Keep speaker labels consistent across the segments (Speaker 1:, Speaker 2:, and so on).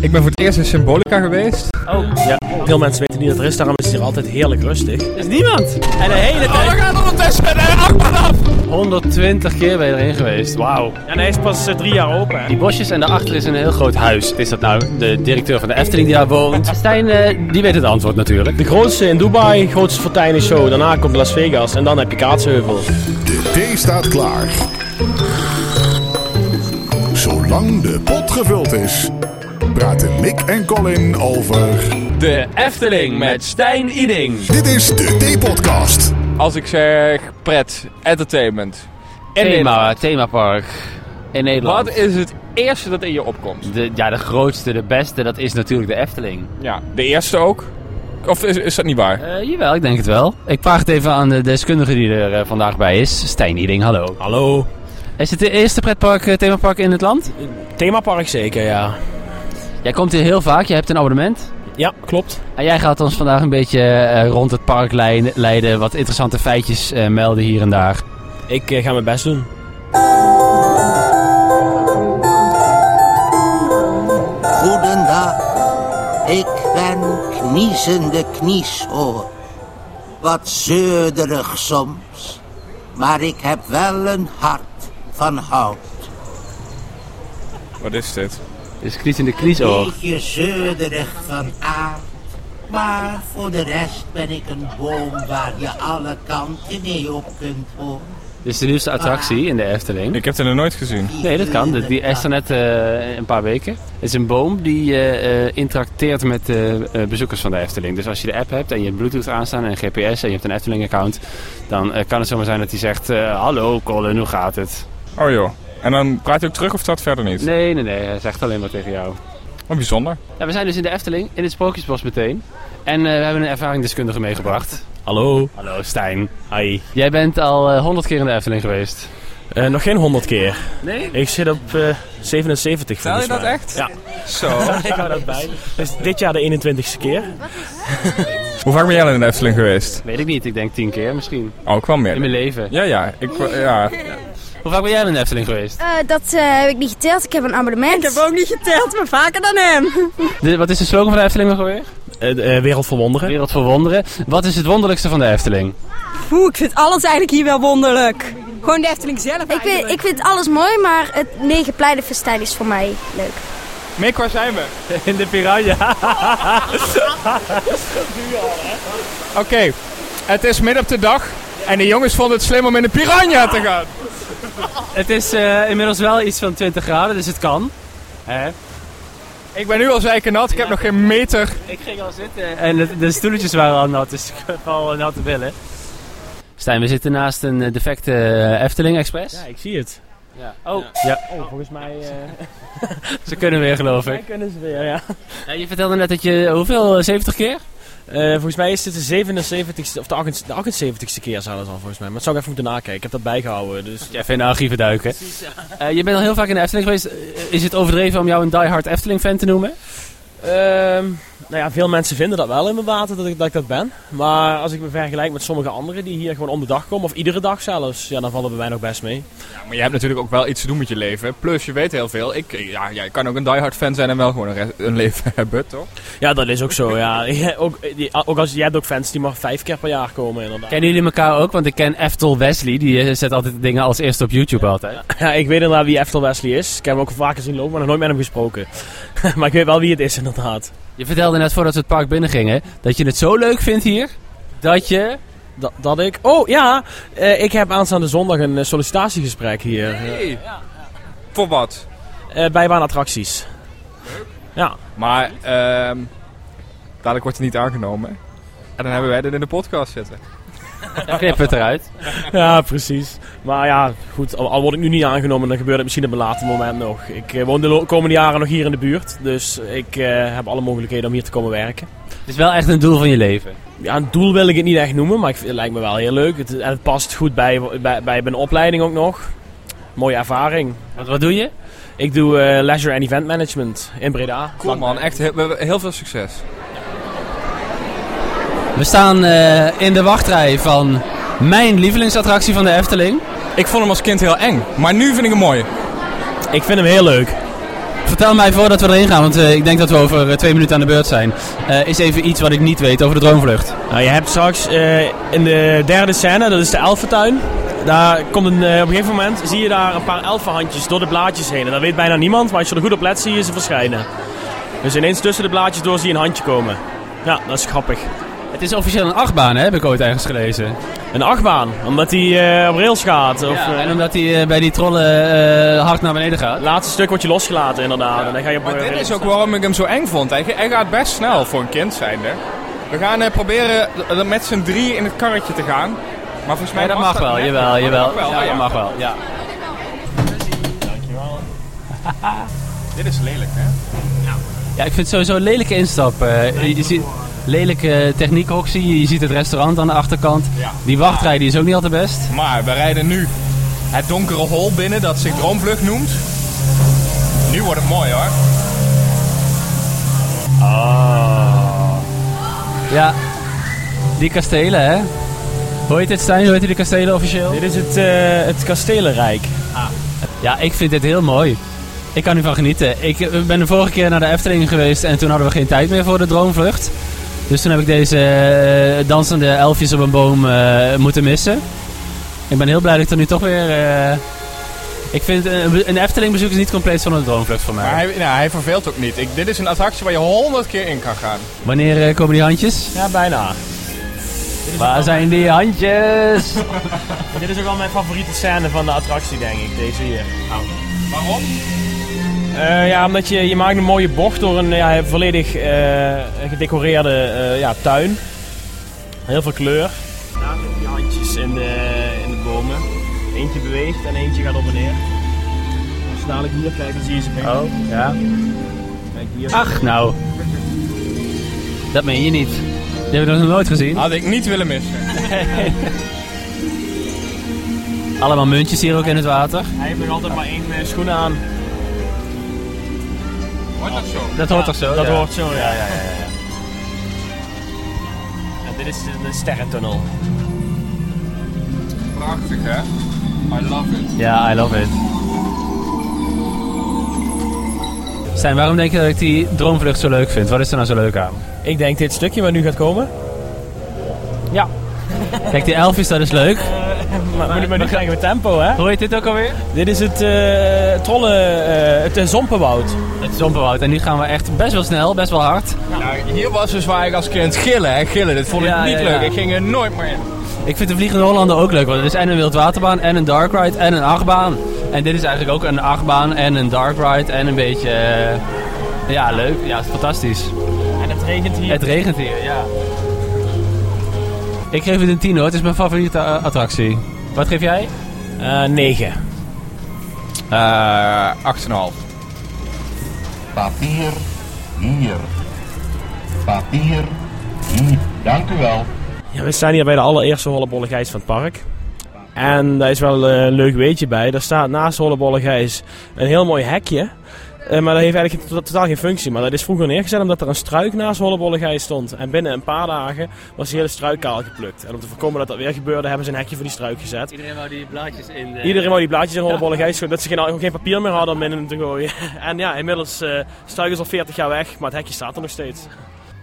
Speaker 1: Ik ben voor het eerst in Symbolica geweest.
Speaker 2: Oh.
Speaker 3: Ja, veel mensen weten niet dat er is, daarom is het hier altijd heerlijk rustig.
Speaker 2: Er is niemand. En de hele tijd.
Speaker 1: gaat Oh, ondertussen met een achtbaan af!
Speaker 4: 120 keer ben je erin geweest. Wauw.
Speaker 3: En hij is pas eh, drie jaar open. hè.
Speaker 4: Die bosjes en daarachter is een heel groot huis. Is dat nou de directeur van de Efteling die daar woont? Stijn, eh, die weet het antwoord natuurlijk.
Speaker 3: De grootste in Dubai, grootste fontein is zo. Daarna komt Las Vegas en dan heb je Kaatsheuvel.
Speaker 5: De thee staat klaar. Zolang de pot gevuld is, praten Mick en Colin over.
Speaker 4: De Efteling met Stijn Iding.
Speaker 5: Dit is de Thee-podcast.
Speaker 6: Als ik zeg pret, entertainment. in Nederland,
Speaker 4: Thema, themapark. In Nederland.
Speaker 6: Wat is het eerste dat in je opkomt?
Speaker 4: De, ja, de grootste, de beste, dat is natuurlijk de Efteling.
Speaker 6: Ja, de eerste ook? Of is, is dat niet waar?
Speaker 4: Eh, jawel, ik denk het wel. Ik vraag het even aan de deskundige die er eh, vandaag bij is. Stijn Iding, hallo.
Speaker 3: Hallo.
Speaker 4: Is het de eerste pretpark, eh, themapark in het land?
Speaker 3: Themapark zeker, ja.
Speaker 4: Jij komt hier heel vaak, je hebt een abonnement.
Speaker 3: Ja, klopt.
Speaker 4: En jij gaat ons vandaag een beetje eh, rond het park leiden, leiden, wat interessante feitjes eh, melden hier en daar.
Speaker 3: Ik eh, ga mijn best doen.
Speaker 7: Goedendag, ik ben kniezende knieshoor. Wat zeurderig soms, maar ik heb wel een hart van hout.
Speaker 6: Wat is dit?
Speaker 4: Is Knies in de Knies
Speaker 7: Beetje zeurderig van aard, maar voor de rest ben ik een boom waar je alle kanten mee op kunt horen.
Speaker 4: Dit is de nieuwste attractie in de Efteling.
Speaker 6: Ik heb het nog nooit gezien.
Speaker 4: Nee, dat kan. Die- Die is er net eh, een paar weken. Het is een boom die eh, eh, interacteert met eh, eh, bezoekers van de Efteling. Dus als je de app hebt en je hebt Bluetooth aanstaan en een GPS en je hebt een Efteling-account, dan eh, kan het zomaar zijn dat hij zegt: eh, Hallo Colin, hoe gaat het?
Speaker 6: Oh joh. En dan praat je ook terug of dat verder niet?
Speaker 4: Nee, nee, nee, hij zegt alleen maar tegen jou.
Speaker 6: Wat bijzonder.
Speaker 4: Ja, we zijn dus in de Efteling, in het Sprookjesbos meteen. En eh, we hebben een ervaringsdeskundige meegebracht.
Speaker 3: Hallo.
Speaker 4: Hallo Stijn.
Speaker 3: Hi.
Speaker 4: Jij bent al eh, honderd keer in de Efteling geweest.
Speaker 3: Eh, nog geen 100 keer.
Speaker 4: Nee?
Speaker 3: Ik zit op eh 77
Speaker 6: Tel
Speaker 3: volgens
Speaker 6: je dat
Speaker 3: mij.
Speaker 6: echt?
Speaker 3: Ja.
Speaker 6: Zo.
Speaker 3: Ik hou dat bij. Dus dit jaar de 21ste keer.
Speaker 6: Hoe vaak ben jij in de Efteling geweest?
Speaker 4: Weet ik niet, ik denk tien keer misschien.
Speaker 6: Oh, ik wel
Speaker 4: In mijn
Speaker 6: meer.
Speaker 4: leven.
Speaker 6: Ja, ja. Ik, eh, ja.
Speaker 4: Hoe vaak ben jij in de Efteling geweest?
Speaker 8: Eh, dat eh, heb ik niet geteld. Ik heb een abonnement. Ik heb ook niet geteld, maar vaker dan hem.
Speaker 4: De- wat is de slogan van de Efteling nog alweer?
Speaker 3: Eh, de, eh, Wereld van Wonderen.
Speaker 4: Wereld voor wonderen. Wat is het wonderlijkste van de Efteling?
Speaker 9: Oeh, ik vind alles eigenlijk hier wel wonderlijk. Gewoon de Efteling zelf
Speaker 8: Ik vind, ik vind alles mooi, maar het Negenpleinenfestijn is voor mij leuk.
Speaker 6: Mick, waar zijn we?
Speaker 3: In de Piranha.
Speaker 1: Oké, het is midden op de dag en de jongens vonden het slim om in de piranha te gaan.
Speaker 4: Het is eh, inmiddels wel iets van 20 graden, dus het kan.
Speaker 1: Ik ben nu al zeikenat, ik heb nog geen meter.
Speaker 4: Ik ging al zitten.
Speaker 3: En de, stoeltjes waren al nat, dus ik heb al
Speaker 4: eh,
Speaker 3: natte billen.
Speaker 4: Stijn, we zitten naast een eh, defecte eh, Efteling Express.
Speaker 3: Ja, ik zie het.
Speaker 4: Oh,
Speaker 3: Ja. Oh, volgens mij... eh,
Speaker 4: ze kunnen weer geloof ik.
Speaker 3: kunnen ze weer, ja.
Speaker 4: Ja, je vertelde net dat je, hoeveel, eh, 70 keer?
Speaker 3: Eh, volgens mij is dit de 77ste of de 78 de 78ste keer zou dat al volgens mij. Maar dat zou ik even moeten nakijken. Ik heb dat bijgehouden. Dus.
Speaker 4: Ja, even in de archieven duiken. Eh, je bent al heel vaak in de Efteling geweest. Eh, Is het overdreven om jou een diehard Efteling fan te noemen?
Speaker 3: Ehm, nou ja, veel mensen vinden dat wel in mijn water dat ik dat, ik dat ben. Maar als ik me vergelijk met sommige anderen die hier gewoon om de dag komen, of iedere dag zelfs, ja, dan vallen bij mij nog best mee.
Speaker 1: Maar je hebt natuurlijk ook wel iets te doen met je leven. Plus, je weet heel veel. Ik,
Speaker 6: eh,
Speaker 1: ja, jij kan ook een diehard fan zijn en wel gewoon een, re- een leven hebben, toch?
Speaker 3: Ja, dat is ook zo. Ja. Ja, ook, die, ook als, je hebt ook fans die maar vijf keer per jaar komen, inderdaad.
Speaker 4: Kennen jullie elkaar ook? Want ik ken Eftel Wesley, die eh, zet altijd dingen als eerste op YouTube altijd.
Speaker 3: Ja, ik weet inderdaad wie Eftel Wesley is. Ik heb hem ook vaker zien lopen, maar nog nooit met hem gesproken. maar ik weet wel wie het is, inderdaad.
Speaker 4: Je vertelde net voordat we het park binnengingen dat je het zo leuk vindt hier dat je.
Speaker 3: Dat, dat ik. Oh ja, eh, ik heb aanstaande zondag een eh, sollicitatiegesprek hier.
Speaker 6: Hey. Voor wat?
Speaker 3: eh, bij Baan Attracties. Ja,
Speaker 6: Maar ehm dadelijk wordt het niet aangenomen. En dan hebben wij dit in de podcast zitten.
Speaker 4: Knip het eruit.
Speaker 3: ja, precies. Maar ja, goed, al, al word ik nu niet aangenomen, dan gebeurt het misschien op een later moment nog. Ik eh, woon de lo- komende jaren nog hier in de buurt, dus ik eh, heb alle mogelijkheden om hier te komen werken.
Speaker 4: Het is wel echt een doel van je leven.
Speaker 3: Ja, een doel wil ik het niet echt noemen, maar ik, vind- het lijkt me wel heel leuk. Het, en het past goed bij, bij, bij mijn opleiding ook nog. Mooie ervaring.
Speaker 4: Want wat doe je?
Speaker 3: Ik doe eh, leisure en event management in Breda.
Speaker 6: Cool man, echt heel, heel veel succes.
Speaker 4: We staan eh, in de wachtrij van mijn lievelingsattractie van de Efteling.
Speaker 6: Ik vond hem als kind heel eng, maar nu vind ik hem mooi.
Speaker 3: Ik vind hem heel leuk.
Speaker 4: Vertel mij voordat we erin gaan, want eh, ik denk dat we over eh, twee minuten aan de beurt zijn. Eh, is even iets wat ik niet weet over de droomvlucht.
Speaker 3: Nou, je hebt straks eh, in de derde scène, dat is de elfentuin. Daar komt een, eh, op een gegeven moment zie je daar een paar elfenhandjes door de blaadjes heen. En dat weet bijna niemand, maar als je er goed op let zie je ze verschijnen. Dus ineens tussen de blaadjes door zie je een handje komen. Ja, dat is grappig.
Speaker 4: Het is officieel een achtbaan, hè, heb ik ooit ergens gelezen.
Speaker 3: Een achtbaan, omdat hij eh, op rails gaat. Of,
Speaker 4: Ja, en omdat hij eh, bij die trollen eh, hard naar beneden gaat.
Speaker 3: laatste stuk wordt je losgelaten inderdaad. En dan ga je op
Speaker 1: Maar
Speaker 3: eh,
Speaker 1: dit
Speaker 3: rails
Speaker 1: is ook
Speaker 3: staan.
Speaker 1: waarom ik hem zo eng vond. Hij, hij gaat best snel voor een kind zijnde. We gaan eh, proberen eh, met z'n drie in het karretje te gaan. Maar volgens mij
Speaker 4: Ja, dat mag wel,
Speaker 1: net.
Speaker 4: jawel, jawel.
Speaker 1: Dat mag wel,
Speaker 4: Ja,
Speaker 1: ja.
Speaker 4: dat mag wel, ja.
Speaker 1: Dit is lelijk, hè?
Speaker 4: Ja, ik vind het sowieso een lelijke instap. eh, je ziet lelijke techniekhok zie je, je ziet het restaurant aan de achterkant.
Speaker 1: Ja.
Speaker 4: Die wachtrij die is ook niet al te best.
Speaker 1: Maar we rijden nu het donkere hol binnen dat zich Droomvlucht noemt. Nu wordt het mooi, hoor.
Speaker 4: Ja, die kastelen, hè? Hoe heet dit, Stijn? Hoe heet die kastelen officieel?
Speaker 3: Dit is het, eh, het kastelenrijk.
Speaker 4: Ja, ik vind dit heel mooi. Ik kan hiervan genieten. Ik eh, ben de vorige keer naar de Efteling geweest en toen hadden we geen tijd meer voor de droomvlucht. Dus toen heb ik deze eh, dansende elfjes op een boom eh, moeten missen. Ik ben heel blij dat ik er nu toch weer... eh, ik vind eh, een, een Efteling-bezoek is niet compleet zonder een droomvlucht voor mij.
Speaker 1: Maar hij, nou, hij verveelt ook niet. Ik, dit is een attractie waar je honderd keer in kan gaan.
Speaker 4: Wanneer eh, komen die handjes?
Speaker 3: Ja, bijna.
Speaker 4: Waar zijn die handjes?
Speaker 3: Dit is ook wel mijn favoriete scène van de attractie, denk ik, deze hier.
Speaker 1: Waarom?
Speaker 3: Eh, ja, omdat je, je maakt een mooie bocht door een ja, volledig eh, gedecoreerde eh, ja, tuin. Heel veel kleur. Daar zitten die handjes in de, in de bomen. Eentje beweegt en eentje gaat op en neer. Als je dadelijk hier kijkt, dan zie je ze weer.
Speaker 4: Oh, ja.
Speaker 3: Kijk hier.
Speaker 4: Ach, nou. Dat meen je niet. Die hebben we nog nooit gezien.
Speaker 1: Had ik niet willen missen.
Speaker 4: Allemaal muntjes hier ook in het water.
Speaker 3: Hij heeft nog altijd maar één eh, schoen aan.
Speaker 1: Wordt dat zo?
Speaker 4: Dat hoort toch zo?
Speaker 3: Dat
Speaker 4: Ja.
Speaker 3: hoort zo, ja. ja, ja, ja. Ja, dit is de, de sterrentunnel.
Speaker 1: Prachtig, hè? I love it.
Speaker 4: Ja, I love it. Stijn, waarom denk je dat ik die droomvlucht zo leuk vind? Wat is er nou zo leuk aan?
Speaker 3: Ik denk dit stukje waar nu gaat komen. Ja.
Speaker 4: Kijk, die elfjes, dat is leuk.
Speaker 3: Maar, moet ik maar nu krijgen we tempo, hè?
Speaker 4: Hoe heet dit ook alweer?
Speaker 3: Dit is het eh, trollen, eh, het eh, zompenwoud.
Speaker 4: Het Zomperwoud. En nu gaan we echt best wel snel, best wel hard.
Speaker 1: Nou, hier was dus waar ik als kind gillen, hè? Gillen. Dit vond ik
Speaker 4: Ja,
Speaker 1: niet
Speaker 4: ja, ja.
Speaker 1: leuk. Ik ging er nooit meer in.
Speaker 4: Ik vind de Vliegende Hollander ook leuk, want het is en een wildwaterbaan en een dark ride en een achtbaan. En dit is eigenlijk ook een achtbaan en een dark ride en een beetje... eh, ja, leuk. Ja, het is fantastisch.
Speaker 3: En het regent hier.
Speaker 4: Het regent hier, ja. Ik geef het een 10 hoor, het is mijn favoriete eh, attractie. Wat geef jij?
Speaker 3: 9.
Speaker 1: Eh 8,5.
Speaker 6: Papier hier. Papier hier. Dank u wel.
Speaker 3: Ja, we staan hier bij de allereerste hollebolle gijs van het park. En daar is wel eh, een leuk weetje bij. Daar staat naast hollebolle gijs een heel mooi hekje. Eh, maar dat heeft eigenlijk to- totaal geen functie. Maar dat is vroeger neergezet omdat er een struik naast hollebolle gijs stond. En binnen een paar dagen was die hele struik kaal geplukt. En om te voorkomen dat dat weer gebeurde hebben ze een hekje voor die struik gezet.
Speaker 4: Iedereen wou die blaadjes in de...
Speaker 3: Iedereen wou die blaadjes in hollebolle gijs gooien. Dat ze geen, ook geen papier meer hadden om in hem te gooien. En ja, inmiddels eh struik is al 40 jaar weg. Maar het hekje staat er nog steeds.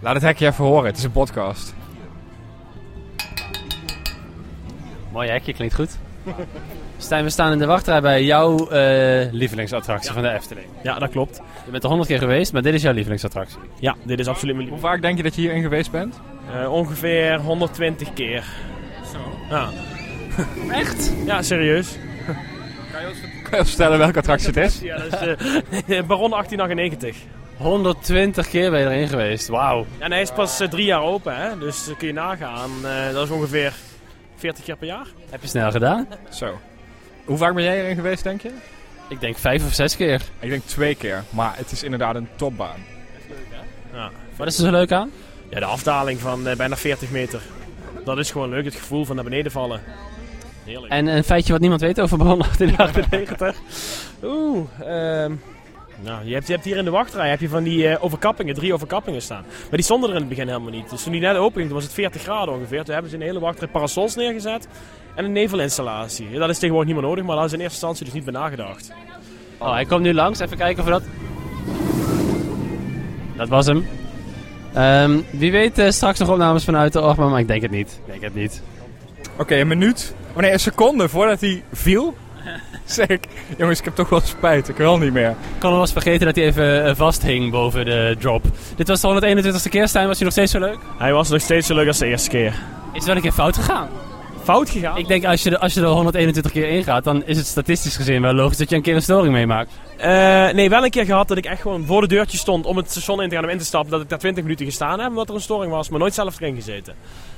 Speaker 1: Laat het hekje even horen, het is een podcast.
Speaker 4: Mooi hekje, klinkt goed. Stijn, we staan in de wachtrij bij jouw eh, lievelingsattractie van de Efteling.
Speaker 3: Ja, dat klopt.
Speaker 4: Je bent er honderd keer geweest, maar dit is jouw lievelingsattractie.
Speaker 3: Ja, dit is absoluut mijn
Speaker 1: Hoe vaak denk je dat je hierin geweest bent?
Speaker 3: Eh, ongeveer 120 keer. Zo. Ja. Echt? Ja, serieus.
Speaker 1: Kan je ons vertellen welke attractie het is?
Speaker 3: Ja, dat is eh, Baron 1898.
Speaker 4: 120 keer ben je erin geweest, wauw.
Speaker 3: En hij is pas eh, drie jaar open, hè? dus eh, kun je nagaan. eh, dat is ongeveer 40 keer per jaar.
Speaker 4: Heb je snel gedaan?
Speaker 1: Zo. Hoe vaak ben jij erin geweest, denk je?
Speaker 4: Ik denk vijf of zes keer.
Speaker 1: Ik denk twee keer, maar het is inderdaad een topbaan.
Speaker 4: Wat is er zo leuk aan?
Speaker 3: Ja, de afdaling van eh, bijna 40 meter. Dat is gewoon leuk, het gevoel van naar beneden vallen. Heerlijk.
Speaker 4: En een feitje wat niemand weet over Baron 1898.
Speaker 3: Oeh, ehm, nou, je, hebt, je hebt hier in de wachtrij heb je van die eh, overkappingen, drie overkappingen staan. Maar die stonden er in het begin helemaal niet. Dus toen die net open ging, toen was het 40 graden ongeveer. Toen hebben ze in de hele wachtrij parasols neergezet en een nevelinstallatie. Ja, dat is tegenwoordig niet meer nodig, maar daar is in eerste instantie dus niet bij nagedacht.
Speaker 4: Oh, hij komt nu langs, even kijken of we dat... dat was hem. Ehm, wie weet eh, straks nog opnames vanuit de Orma, maar ik denk het niet. Ik denk het niet.
Speaker 1: Oké, een minuut. Oh nee, een seconde voordat hij viel. Zeg ik, jongens, ik heb toch wel spijt. Ik wil niet meer.
Speaker 4: Ik kon wel eens vergeten dat hij even eh, vasthing boven de drop. Dit was de 121ste keer, Stijn. Was hij nog steeds zo leuk?
Speaker 3: Hij was nog steeds zo leuk als de eerste keer.
Speaker 4: Is het wel een keer fout gegaan?
Speaker 3: Fout gegaan?
Speaker 4: Ik denk als je, de- als je er 121 keer ingaat, dan is het statistisch gezien wel logisch dat je een keer een storing meemaakt.
Speaker 3: Eh, nee, wel een keer gehad dat ik echt gewoon voor de deurtje stond om het station in te gaan om in te stappen. Dat ik daar 20 minuten gestaan heb omdat er een storing was, maar nooit zelf erin gezeten.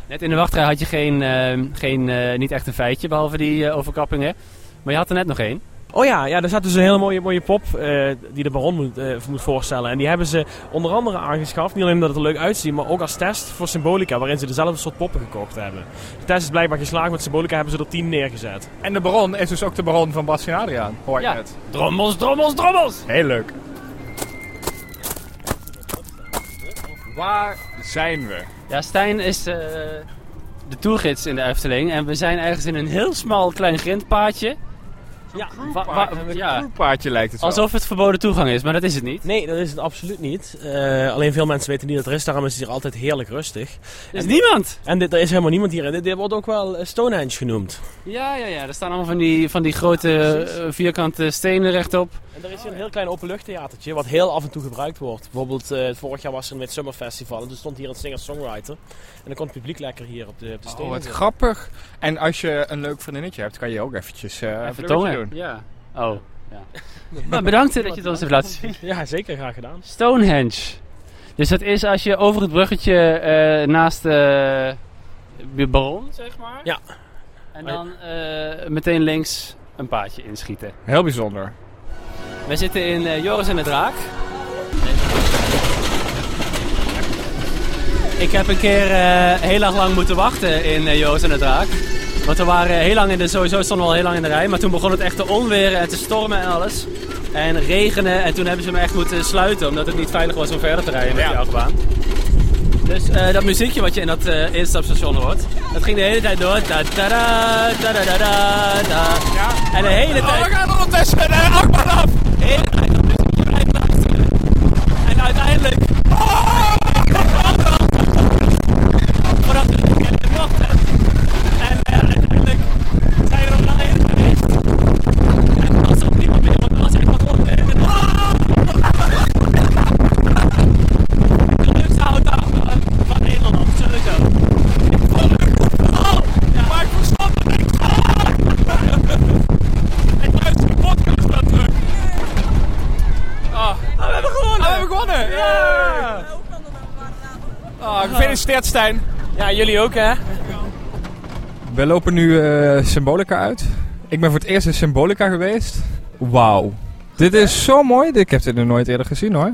Speaker 4: Net in de wachtrij had je geen, eh, geen eh, niet echt een feitje, behalve die eh, overkappingen. Maar je had er net nog één.
Speaker 3: Oh ja, ja, er zat dus een hele mooie, mooie pop eh, die de baron moet, eh, moet voorstellen. En die hebben ze onder andere aangeschaft. Niet alleen omdat het er leuk uitziet, maar ook als test voor Symbolica, waarin ze dezelfde soort poppen gekocht hebben. De test is blijkbaar geslaagd, want Symbolica hebben ze er 10 neergezet.
Speaker 1: En de baron is dus ook de baron van Bastien Adriaan, hoor ik
Speaker 4: Ja.
Speaker 1: net.
Speaker 4: Drommels, drommels, drommels!
Speaker 1: Heel leuk. Waar zijn we?
Speaker 4: Ja, Stijn is eh, de tourgids in de Efteling. En we zijn ergens in een heel smal klein grindpaadje.
Speaker 3: Ja,
Speaker 4: wa- wa- ja.
Speaker 1: Een paardje lijkt het wel.
Speaker 4: Alsof het verboden toegang is, maar dat is het niet.
Speaker 3: Nee, dat is het absoluut niet. Eh, alleen veel mensen weten niet dat er is, daarom is het hier altijd heerlijk rustig.
Speaker 4: Er is niemand!
Speaker 3: En dit, er is helemaal niemand hier. En Dit, dit wordt ook wel eh, Stonehenge genoemd.
Speaker 4: Ja, ja, ja. Er staan allemaal van die, van die grote eh, vierkante stenen rechtop.
Speaker 3: En er is hier een heel klein openluchttheatertje, wat heel af en toe gebruikt wordt. Bijvoorbeeld, eh, vorig jaar was er een Summer Festival en toen stond hier een singer-songwriter. En dan kon het publiek lekker hier op de, op de stenen
Speaker 1: Oh, wat
Speaker 3: zitten.
Speaker 1: grappig. En als je een leuk vriendinnetje hebt, kan je ook eventjes eh een
Speaker 4: Vertoon
Speaker 1: fluitje doen.
Speaker 4: Ja. Oh. Ja. Maar bedankt hè, dat je het ons hebt laten zien.
Speaker 3: Ja, zeker, graag gedaan.
Speaker 4: Stonehenge. Dus dat is als je over het bruggetje eh, naast eh, de baron, zeg maar.
Speaker 3: Ja.
Speaker 4: En dan eh, meteen links een paadje inschieten.
Speaker 1: Heel bijzonder.
Speaker 4: We zitten in eh, Joris en de Draak. Ik heb een keer eh, heel erg lang moeten wachten in eh, Joris en de Draak. Want we waren heel lang in de, sowieso stonden we al heel lang in de rij. Maar toen begon het echt te onweren en te stormen en alles. En regenen. En toen hebben ze me echt moeten sluiten. Omdat het niet veilig was om verder te rijden met die achtbaan. Dus eh, dat muziekje wat je in dat eh, instapstation hoort. Dat ging de hele tijd door. Da, da, da, da, da, da, da, da. En de hele tijd...
Speaker 1: gaan ondertussen de achtbaan af!
Speaker 4: Hele tijd op dit moment blijven luisteren. En uiteindelijk. Voordat we het kennen mochten. En eh, uiteindelijk zijn we online geweest. En was er niemand meer, want er was echt wat onder. En de leukste auto van Nederland, sowieso. Ik vond het goed. Ja. Maar ik verstond het niet. Ik luister de podcast wel terug.
Speaker 1: we hebben gewonnen! we hebben gewonnen! Ja! Ah, gefeliciteerd Stijn.
Speaker 3: Ja, jullie ook, hè?
Speaker 1: We lopen nu eh, Symbolica uit. Ik ben voor het eerst in Symbolica geweest. Wauw. Dit is zo mooi. Ik heb dit nog nooit eerder gezien hoor.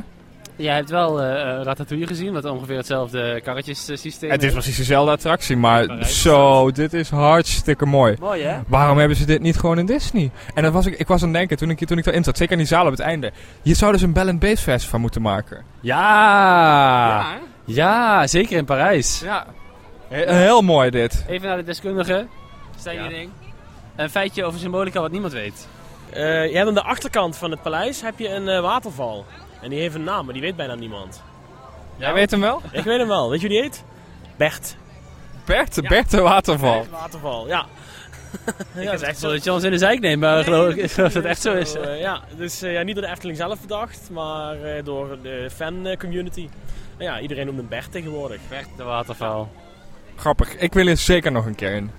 Speaker 4: Jij hebt wel eh, Ratatouille gezien, wat ongeveer hetzelfde karretjesysteem
Speaker 1: Het is precies dezelfde attractie, maar
Speaker 4: Parijs.
Speaker 1: zo, dit is hartstikke mooi.
Speaker 4: Mooi, hè?
Speaker 1: Waarom hebben ze dit niet gewoon in Disney? En dat was ik, ik was aan het denken toen ik, toen ik erin zat, zeker in die zaal op het einde. Je zou dus een Bell and Base Fest van moeten maken.
Speaker 4: Ja!
Speaker 1: Ja,
Speaker 4: Ja, zeker in Parijs.
Speaker 1: ja. He- heel mooi dit.
Speaker 4: Even naar de deskundige. Stijn Hiddink. Een feitje over symbolica wat niemand weet.
Speaker 3: Eh, je hebt aan de achterkant van het paleis heb je een eh, waterval. En die heeft een naam, maar die weet bijna niemand.
Speaker 1: Jij weet hem wel?
Speaker 3: Ik weet hem wel. Weet je hoe die heet? Bert.
Speaker 1: Bert, Bert de Waterval.
Speaker 3: Waterval, ja.
Speaker 4: Ja, dat is echt zo dat je ons in de zijk neemt, maar geloof ik dat dat echt zo is.
Speaker 3: Eh, ja, dus eh, ja, niet door de Efteling zelf bedacht, maar eh, door de fan-community. Nou ja, iedereen noemt hem Bert tegenwoordig.
Speaker 4: Echt de waterval.
Speaker 1: Grappig, ik wil er zeker nog een keer in.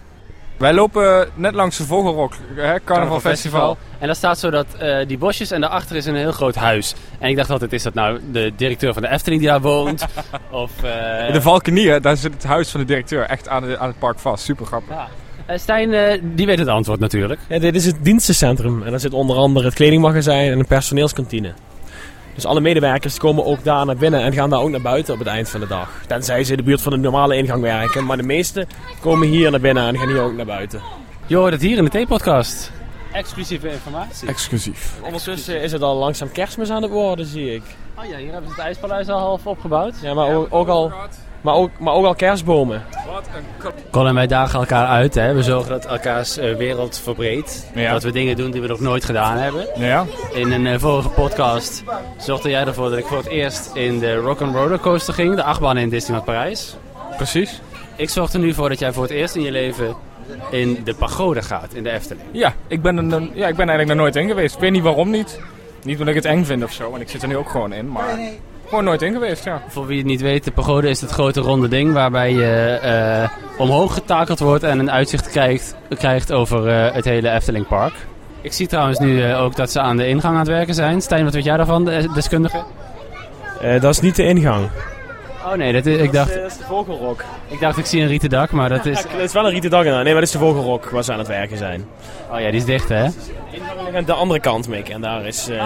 Speaker 1: Wij lopen net langs de Vogelrok, hè, Carnaval Festival.
Speaker 4: En daar staat zo dat eh, die bosjes en daarachter is een heel groot huis. En ik dacht altijd, is dat nou de directeur van de Efteling die daar woont? of... eh,
Speaker 1: De Valkenier, daar zit het huis van de directeur echt aan, de- aan het park vast. Super grappig.
Speaker 4: ja. Eh, Stijn, eh, die weet het antwoord natuurlijk.
Speaker 3: Ja, dit is het dienstencentrum. En daar zit onder andere het kledingmagazijn en een personeelskantine. Dus alle medewerkers komen ook daar naar binnen en gaan daar ook naar buiten op het eind van de dag. Tenzij ze in de buurt van de normale ingang werken. Maar de meesten komen hier naar binnen en gaan hier ook naar buiten.
Speaker 4: Je hoort het hier in de T-podcast.
Speaker 10: Exclusieve informatie.
Speaker 5: Exclusief.
Speaker 3: Ondertussen is het al langzaam kerstmis aan het worden, zie ik.
Speaker 10: Oh ja, hier hebben ze het ijspaleis al half opgebouwd.
Speaker 3: Ja, maar ook, ook al, maar ook, maar ook al kerstbomen.
Speaker 1: Wat een
Speaker 4: Colin, wij dagen elkaar uit. Hè. We zorgen dat elkaars eh, wereld verbreedt. Dat we dingen doen die we nog nooit gedaan hebben.
Speaker 1: Ja.
Speaker 4: In een eh, vorige podcast zorgde jij ervoor dat ik voor het eerst in de Rock'n'Roller Coaster ging. De achtbaan in Disneyland Parijs.
Speaker 1: Precies.
Speaker 4: Ik zorg er nu voor dat jij voor het eerst in je leven in de pagode gaat, in de Efteling.
Speaker 1: Ja, ik ben, een, een- ja, ik ben eigenlijk nog nooit in geweest. Ik weet niet waarom niet. Niet omdat ik het eng vind of zo, want ik zit er nu ook gewoon in. Maar gewoon nooit in geweest, ja.
Speaker 4: Voor wie het niet weet, de pagode is het grote ronde ding waarbij je eh, omhoog getakeld wordt en een uitzicht krijgt, krijgt over eh, het hele Efteling Park. Ik zie trouwens nu eh, ook dat ze aan de ingang aan het werken zijn. Stijn, wat weet jij daarvan, de- deskundige?
Speaker 3: Eh, dat is niet de ingang.
Speaker 4: Oh nee, dat is, ik, dacht,
Speaker 3: Dat is de vogelrok.
Speaker 4: ik dacht ik zie een rieten dak, maar dat
Speaker 3: Ja,
Speaker 4: is...
Speaker 3: Het is wel een rieten dag inderdaad. Nee, maar dat is de vogelrok waar ze aan het werken zijn.
Speaker 4: Oh ja, die is dicht hè?
Speaker 3: En de andere kant, Mick. En daar is... eh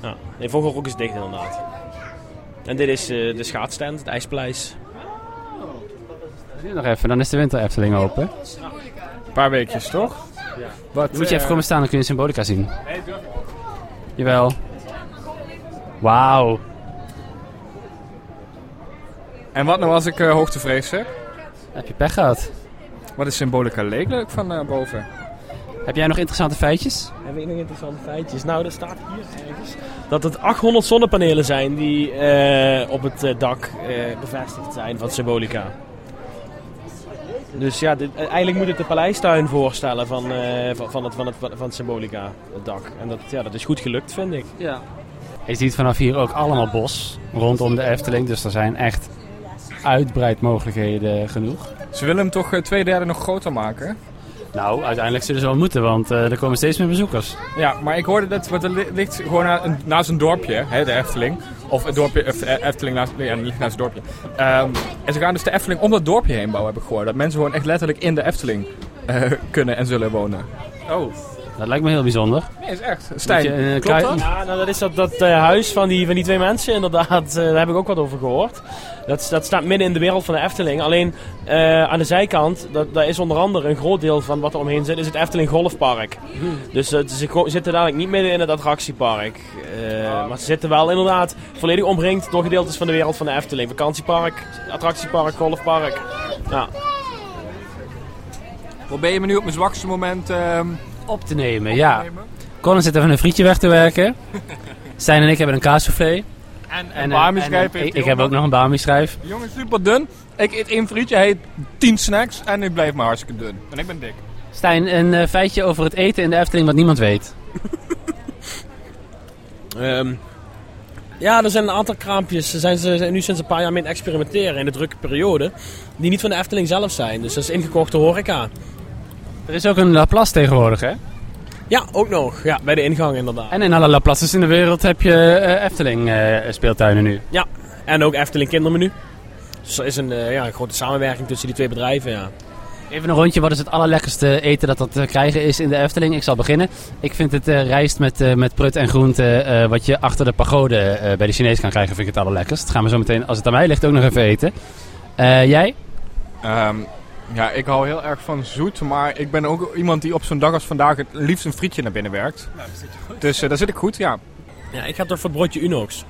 Speaker 3: ja. Nee, vogelrok is dicht inderdaad. En dit is eh, de schaatsstand, het ijspaleis.
Speaker 4: Nu nog even, dan is de winter Efteling open.
Speaker 1: Een paar weekjes, toch?
Speaker 3: Ja.
Speaker 1: Wat,
Speaker 4: Dan moet je even
Speaker 1: eh,
Speaker 4: komen staan, dan kun je Symbolica zien.
Speaker 1: Nee, durf ik niet.
Speaker 4: Jawel. Wauw.
Speaker 1: En wat nou als ik eh, hoogtevrees zeg?
Speaker 4: Heb je pech gehad?
Speaker 1: Wat is symbolica leek leuk van eh, boven?
Speaker 4: Heb jij nog interessante feitjes?
Speaker 3: Heb ik nog interessante feitjes? Nou, er staat hier ergens dat het 800 zonnepanelen zijn die eh, op het eh, dak eh, bevestigd zijn van Symbolica. Dus ja, dit, eh, eigenlijk moet het de paleistuin voorstellen van, eh, van, van, het, van, het, van Symbolica, het dak. En dat, ja, dat is goed gelukt, vind ik.
Speaker 4: Ja. Je ziet vanaf hier ook allemaal bos rondom de Efteling, dus er zijn echt uitbreidmogelijkheden genoeg.
Speaker 1: Ze willen hem toch eh, twee derde nog groter maken?
Speaker 4: Nou, uiteindelijk zullen ze wel moeten, want eh, er komen steeds meer bezoekers.
Speaker 1: Ja, maar ik hoorde dat, want er li- ligt gewoon na- een- naast een dorpje, hè, de Efteling. Of het dorpje, of, eh, Efteling naast, nee, ja, het ligt naast het dorpje. Ehm, en ze gaan dus de Efteling om dat dorpje heen bouwen, heb ik gehoord. Dat mensen gewoon echt letterlijk in de Efteling eh, kunnen en zullen wonen. Oh.
Speaker 4: Dat lijkt me heel bijzonder.
Speaker 1: Nee, is echt.
Speaker 4: Moet je,
Speaker 1: Stijn,
Speaker 4: eh,
Speaker 1: klopt
Speaker 4: klei-
Speaker 1: dat?
Speaker 3: Ja, nou dat is dat, dat eh, huis van die, van die twee mensen inderdaad. Eh, daar heb ik ook wat over gehoord. Dat, is- dat staat midden in de wereld van de Efteling. Alleen eh, aan de zijkant, dat, daar is onder andere een groot deel van wat er omheen zit, is het Efteling Golfpark. Dus eh, ze ko- zitten dadelijk niet midden in het attractiepark. Eh, Maar ze zitten wel inderdaad volledig omringd door gedeeltes van de wereld van de Efteling. Vakantiepark, attractiepark, golfpark. Ja.
Speaker 1: Probeer je me nu op mijn zwakste moment... ehm,
Speaker 4: Op te nemen, ja. Colin zit even een frietje weg te werken. Stijn en ik hebben een kaassoufflé.
Speaker 1: en
Speaker 4: En,
Speaker 1: en,
Speaker 4: eh, en, eh, ik, ik heb ook nog een bami-schrijf.
Speaker 1: Jongens, super dun. Ik eet één frietje, hij eet tien snacks en ik blijf maar hartstikke dun. En ik ben dik.
Speaker 4: Stijn, een eh, feitje over het eten in de Efteling wat niemand weet.
Speaker 3: Ehm, ja, er zijn een aantal kraampjes. Ze zijn ze zijn nu sinds een paar jaar mee aan het experimenteren in de drukke periode. Die niet van de Efteling zelf zijn. Dus dat is ingekochte horeca.
Speaker 4: Er is ook een Laplace tegenwoordig, hè?
Speaker 3: Ja, ook nog. Ja, bij de ingang inderdaad.
Speaker 4: En in alle Laplaces in de wereld heb je eh, Efteling eh, speeltuinen nu.
Speaker 3: Ja, en ook Efteling kindermenu. Dus er is een, eh, ja, een grote samenwerking tussen die twee bedrijven, ja.
Speaker 4: Even een rondje, wat is het allerlekkerste eten dat er te krijgen is in de Efteling? Ik zal beginnen. Ik vind het eh, rijst met, eh, met prut en groente, eh, wat je achter de pagode eh, bij de Chinees kan krijgen, vind ik het allerlekkerst. Dat gaan we zo meteen, als het aan mij ligt, ook nog even eten. Eh, jij?
Speaker 1: Ehm, ja, ik hou heel erg van zoet, maar ik ben ook iemand die op zo'n dag als vandaag het liefst een frietje naar binnen werkt. Dus eh, daar zit ik goed, ja.
Speaker 3: Ja, ik ga toch voor het broodje Unox.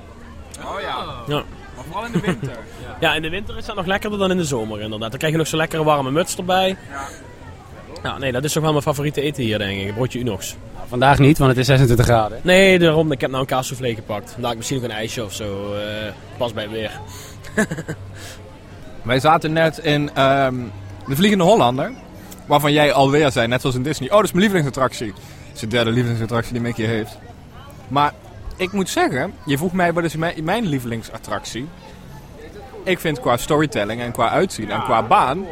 Speaker 1: Oh ja.
Speaker 3: Ja.
Speaker 1: Maar vooral in de winter.
Speaker 3: Ja, in de winter is dat nog lekkerder dan in de zomer inderdaad. Dan krijg je nog zo'n lekkere warme muts erbij. Ja, nee, dat is toch wel mijn favoriete eten hier, denk ik. Broodje Unox.
Speaker 4: Nou, Vandaag niet, want het is 26 graden.
Speaker 3: Nee, daarom. Ik heb nou een kaassoufflé gepakt. Vandaag misschien nog een ijsje of zo. eh, pas bij het weer.
Speaker 1: Wij zaten net in ehm, De Vliegende Hollander, waarvan jij alweer zei, net zoals in Disney. Oh, dat is mijn lievelingsattractie. Dat is de derde lievelingsattractie die Mickey heeft. Maar ik moet zeggen, je vroeg mij wat is mijn, mijn lievelingsattractie. Ik vind qua storytelling en qua uitzien en qua baan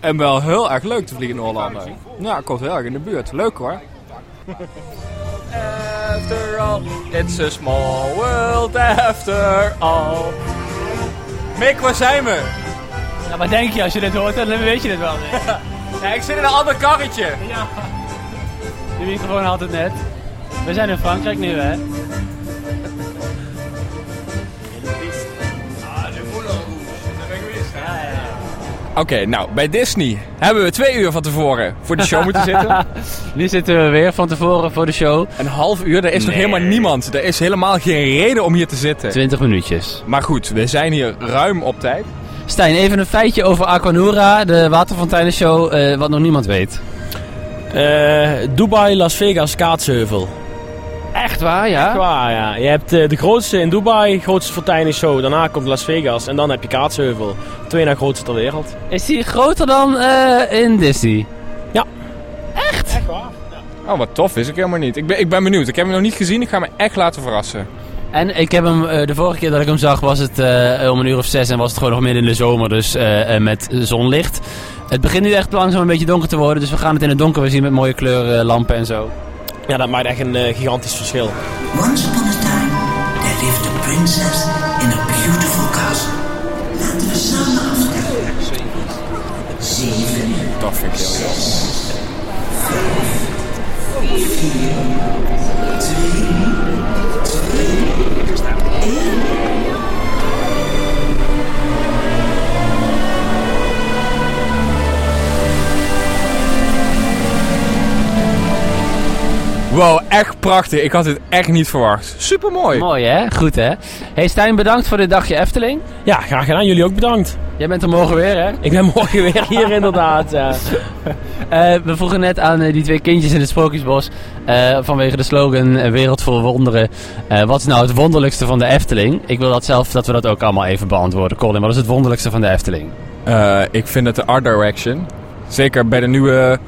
Speaker 1: en wel heel erg leuk te vliegen in Hollander. Ja, komt heel erg in de buurt. Leuk hoor. After all, it's a small world after all. Mick, waar zijn we?
Speaker 4: Ja, maar denk je, als je dit hoort, dan weet je dit wel.
Speaker 1: Ja, ik zit in een ander karretje.
Speaker 4: De microfoon altijd net. We zijn in Frankrijk nu, hè?
Speaker 6: Oké, nou, bij Disney hebben we twee uur van tevoren voor de show moeten zitten.
Speaker 4: Nu zitten we weer van tevoren voor de show.
Speaker 6: Een half uur, er is nog
Speaker 4: Nee.
Speaker 6: helemaal niemand. Er is helemaal geen reden om hier te zitten.
Speaker 4: 20 minuutjes.
Speaker 6: Maar goed, we zijn hier ruim op tijd.
Speaker 4: Stijn, even een feitje over Aquanura, de waterfonteinenshow, eh, wat nog niemand weet.
Speaker 3: Eh, Dubai, Las Vegas, Kaatsheuvel.
Speaker 4: Echt waar, ja?
Speaker 3: Echt waar, ja. Je hebt eh, de grootste in Dubai, grootste fonteinenshow. Daarna komt Las Vegas en dan heb je Kaatsheuvel. Twee na grootste ter wereld.
Speaker 4: Is die groter dan eh, in Disney?
Speaker 6: Oh, wat tof is ik helemaal niet. Ik ben, ik ben benieuwd. Ik heb hem nog niet gezien. Ik ga me echt laten verrassen.
Speaker 4: En ik heb hem, eh, de vorige keer dat ik hem zag was het eh, om een uur of zes en was het gewoon nog midden in de zomer, dus eh, eh, met zonlicht. Het begint nu echt langzaam een beetje donker te worden, dus we gaan het in het donker weer zien met mooie kleurlampen en zo.
Speaker 3: Ja, dat maakt echt een eh, gigantisch verschil.
Speaker 7: Once upon a time, there lived a princess in a beautiful castle. Laten we samen aftellen. Zeven.
Speaker 6: Dat vind ik heel
Speaker 7: Zes. Vijf. Vier. Twee. Twee. Eén.
Speaker 6: Wow, echt prachtig. Ik had dit echt niet verwacht. Super mooi.
Speaker 4: Mooi hè, goed hè. Hey Stijn, bedankt voor dit dagje Efteling.
Speaker 3: Ja, graag gedaan. Jullie ook bedankt.
Speaker 4: Jij bent er morgen weer hè?
Speaker 3: Ik ben morgen weer hier inderdaad. ja.
Speaker 4: Eh, we vroegen net aan eh, die twee kindjes in het Sprookjesbos eh, vanwege de slogan eh, Wereld voor Wonderen. eh, wat is nou het wonderlijkste van de Efteling? Ik wil dat zelf dat we dat ook allemaal even beantwoorden. Colin, wat is het wonderlijkste van de Efteling?
Speaker 6: Eh, ik vind dat de art direction, zeker bij de nieuwe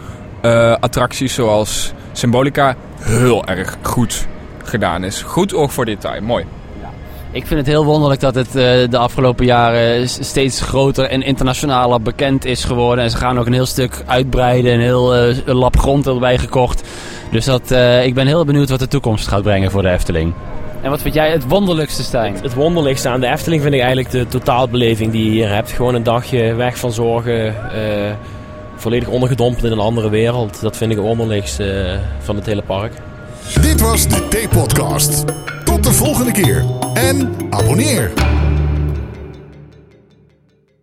Speaker 6: eh, attracties zoals Symbolica, heel erg goed gedaan is. Goed oog voor detail. Mooi.
Speaker 4: Ik vind het heel wonderlijk dat het eh, de afgelopen jaren s- steeds groter en internationaler bekend is geworden. En ze gaan ook een heel stuk uitbreiden, een heel eh, een lab grond erbij gekocht. Dus dat, eh, ik ben heel benieuwd wat de toekomst gaat brengen voor de Efteling. En wat vind jij het wonderlijkste, Stijn?
Speaker 3: Het wonderlijkste aan de Efteling vind ik eigenlijk de totaalbeleving die je hier hebt. Gewoon een dagje weg van zorgen. eh, volledig ondergedompeld in een andere wereld. Dat vind ik het wonderlijkste eh, van het hele park.
Speaker 5: Dit was de T-podcast. Tot de volgende keer en abonneer.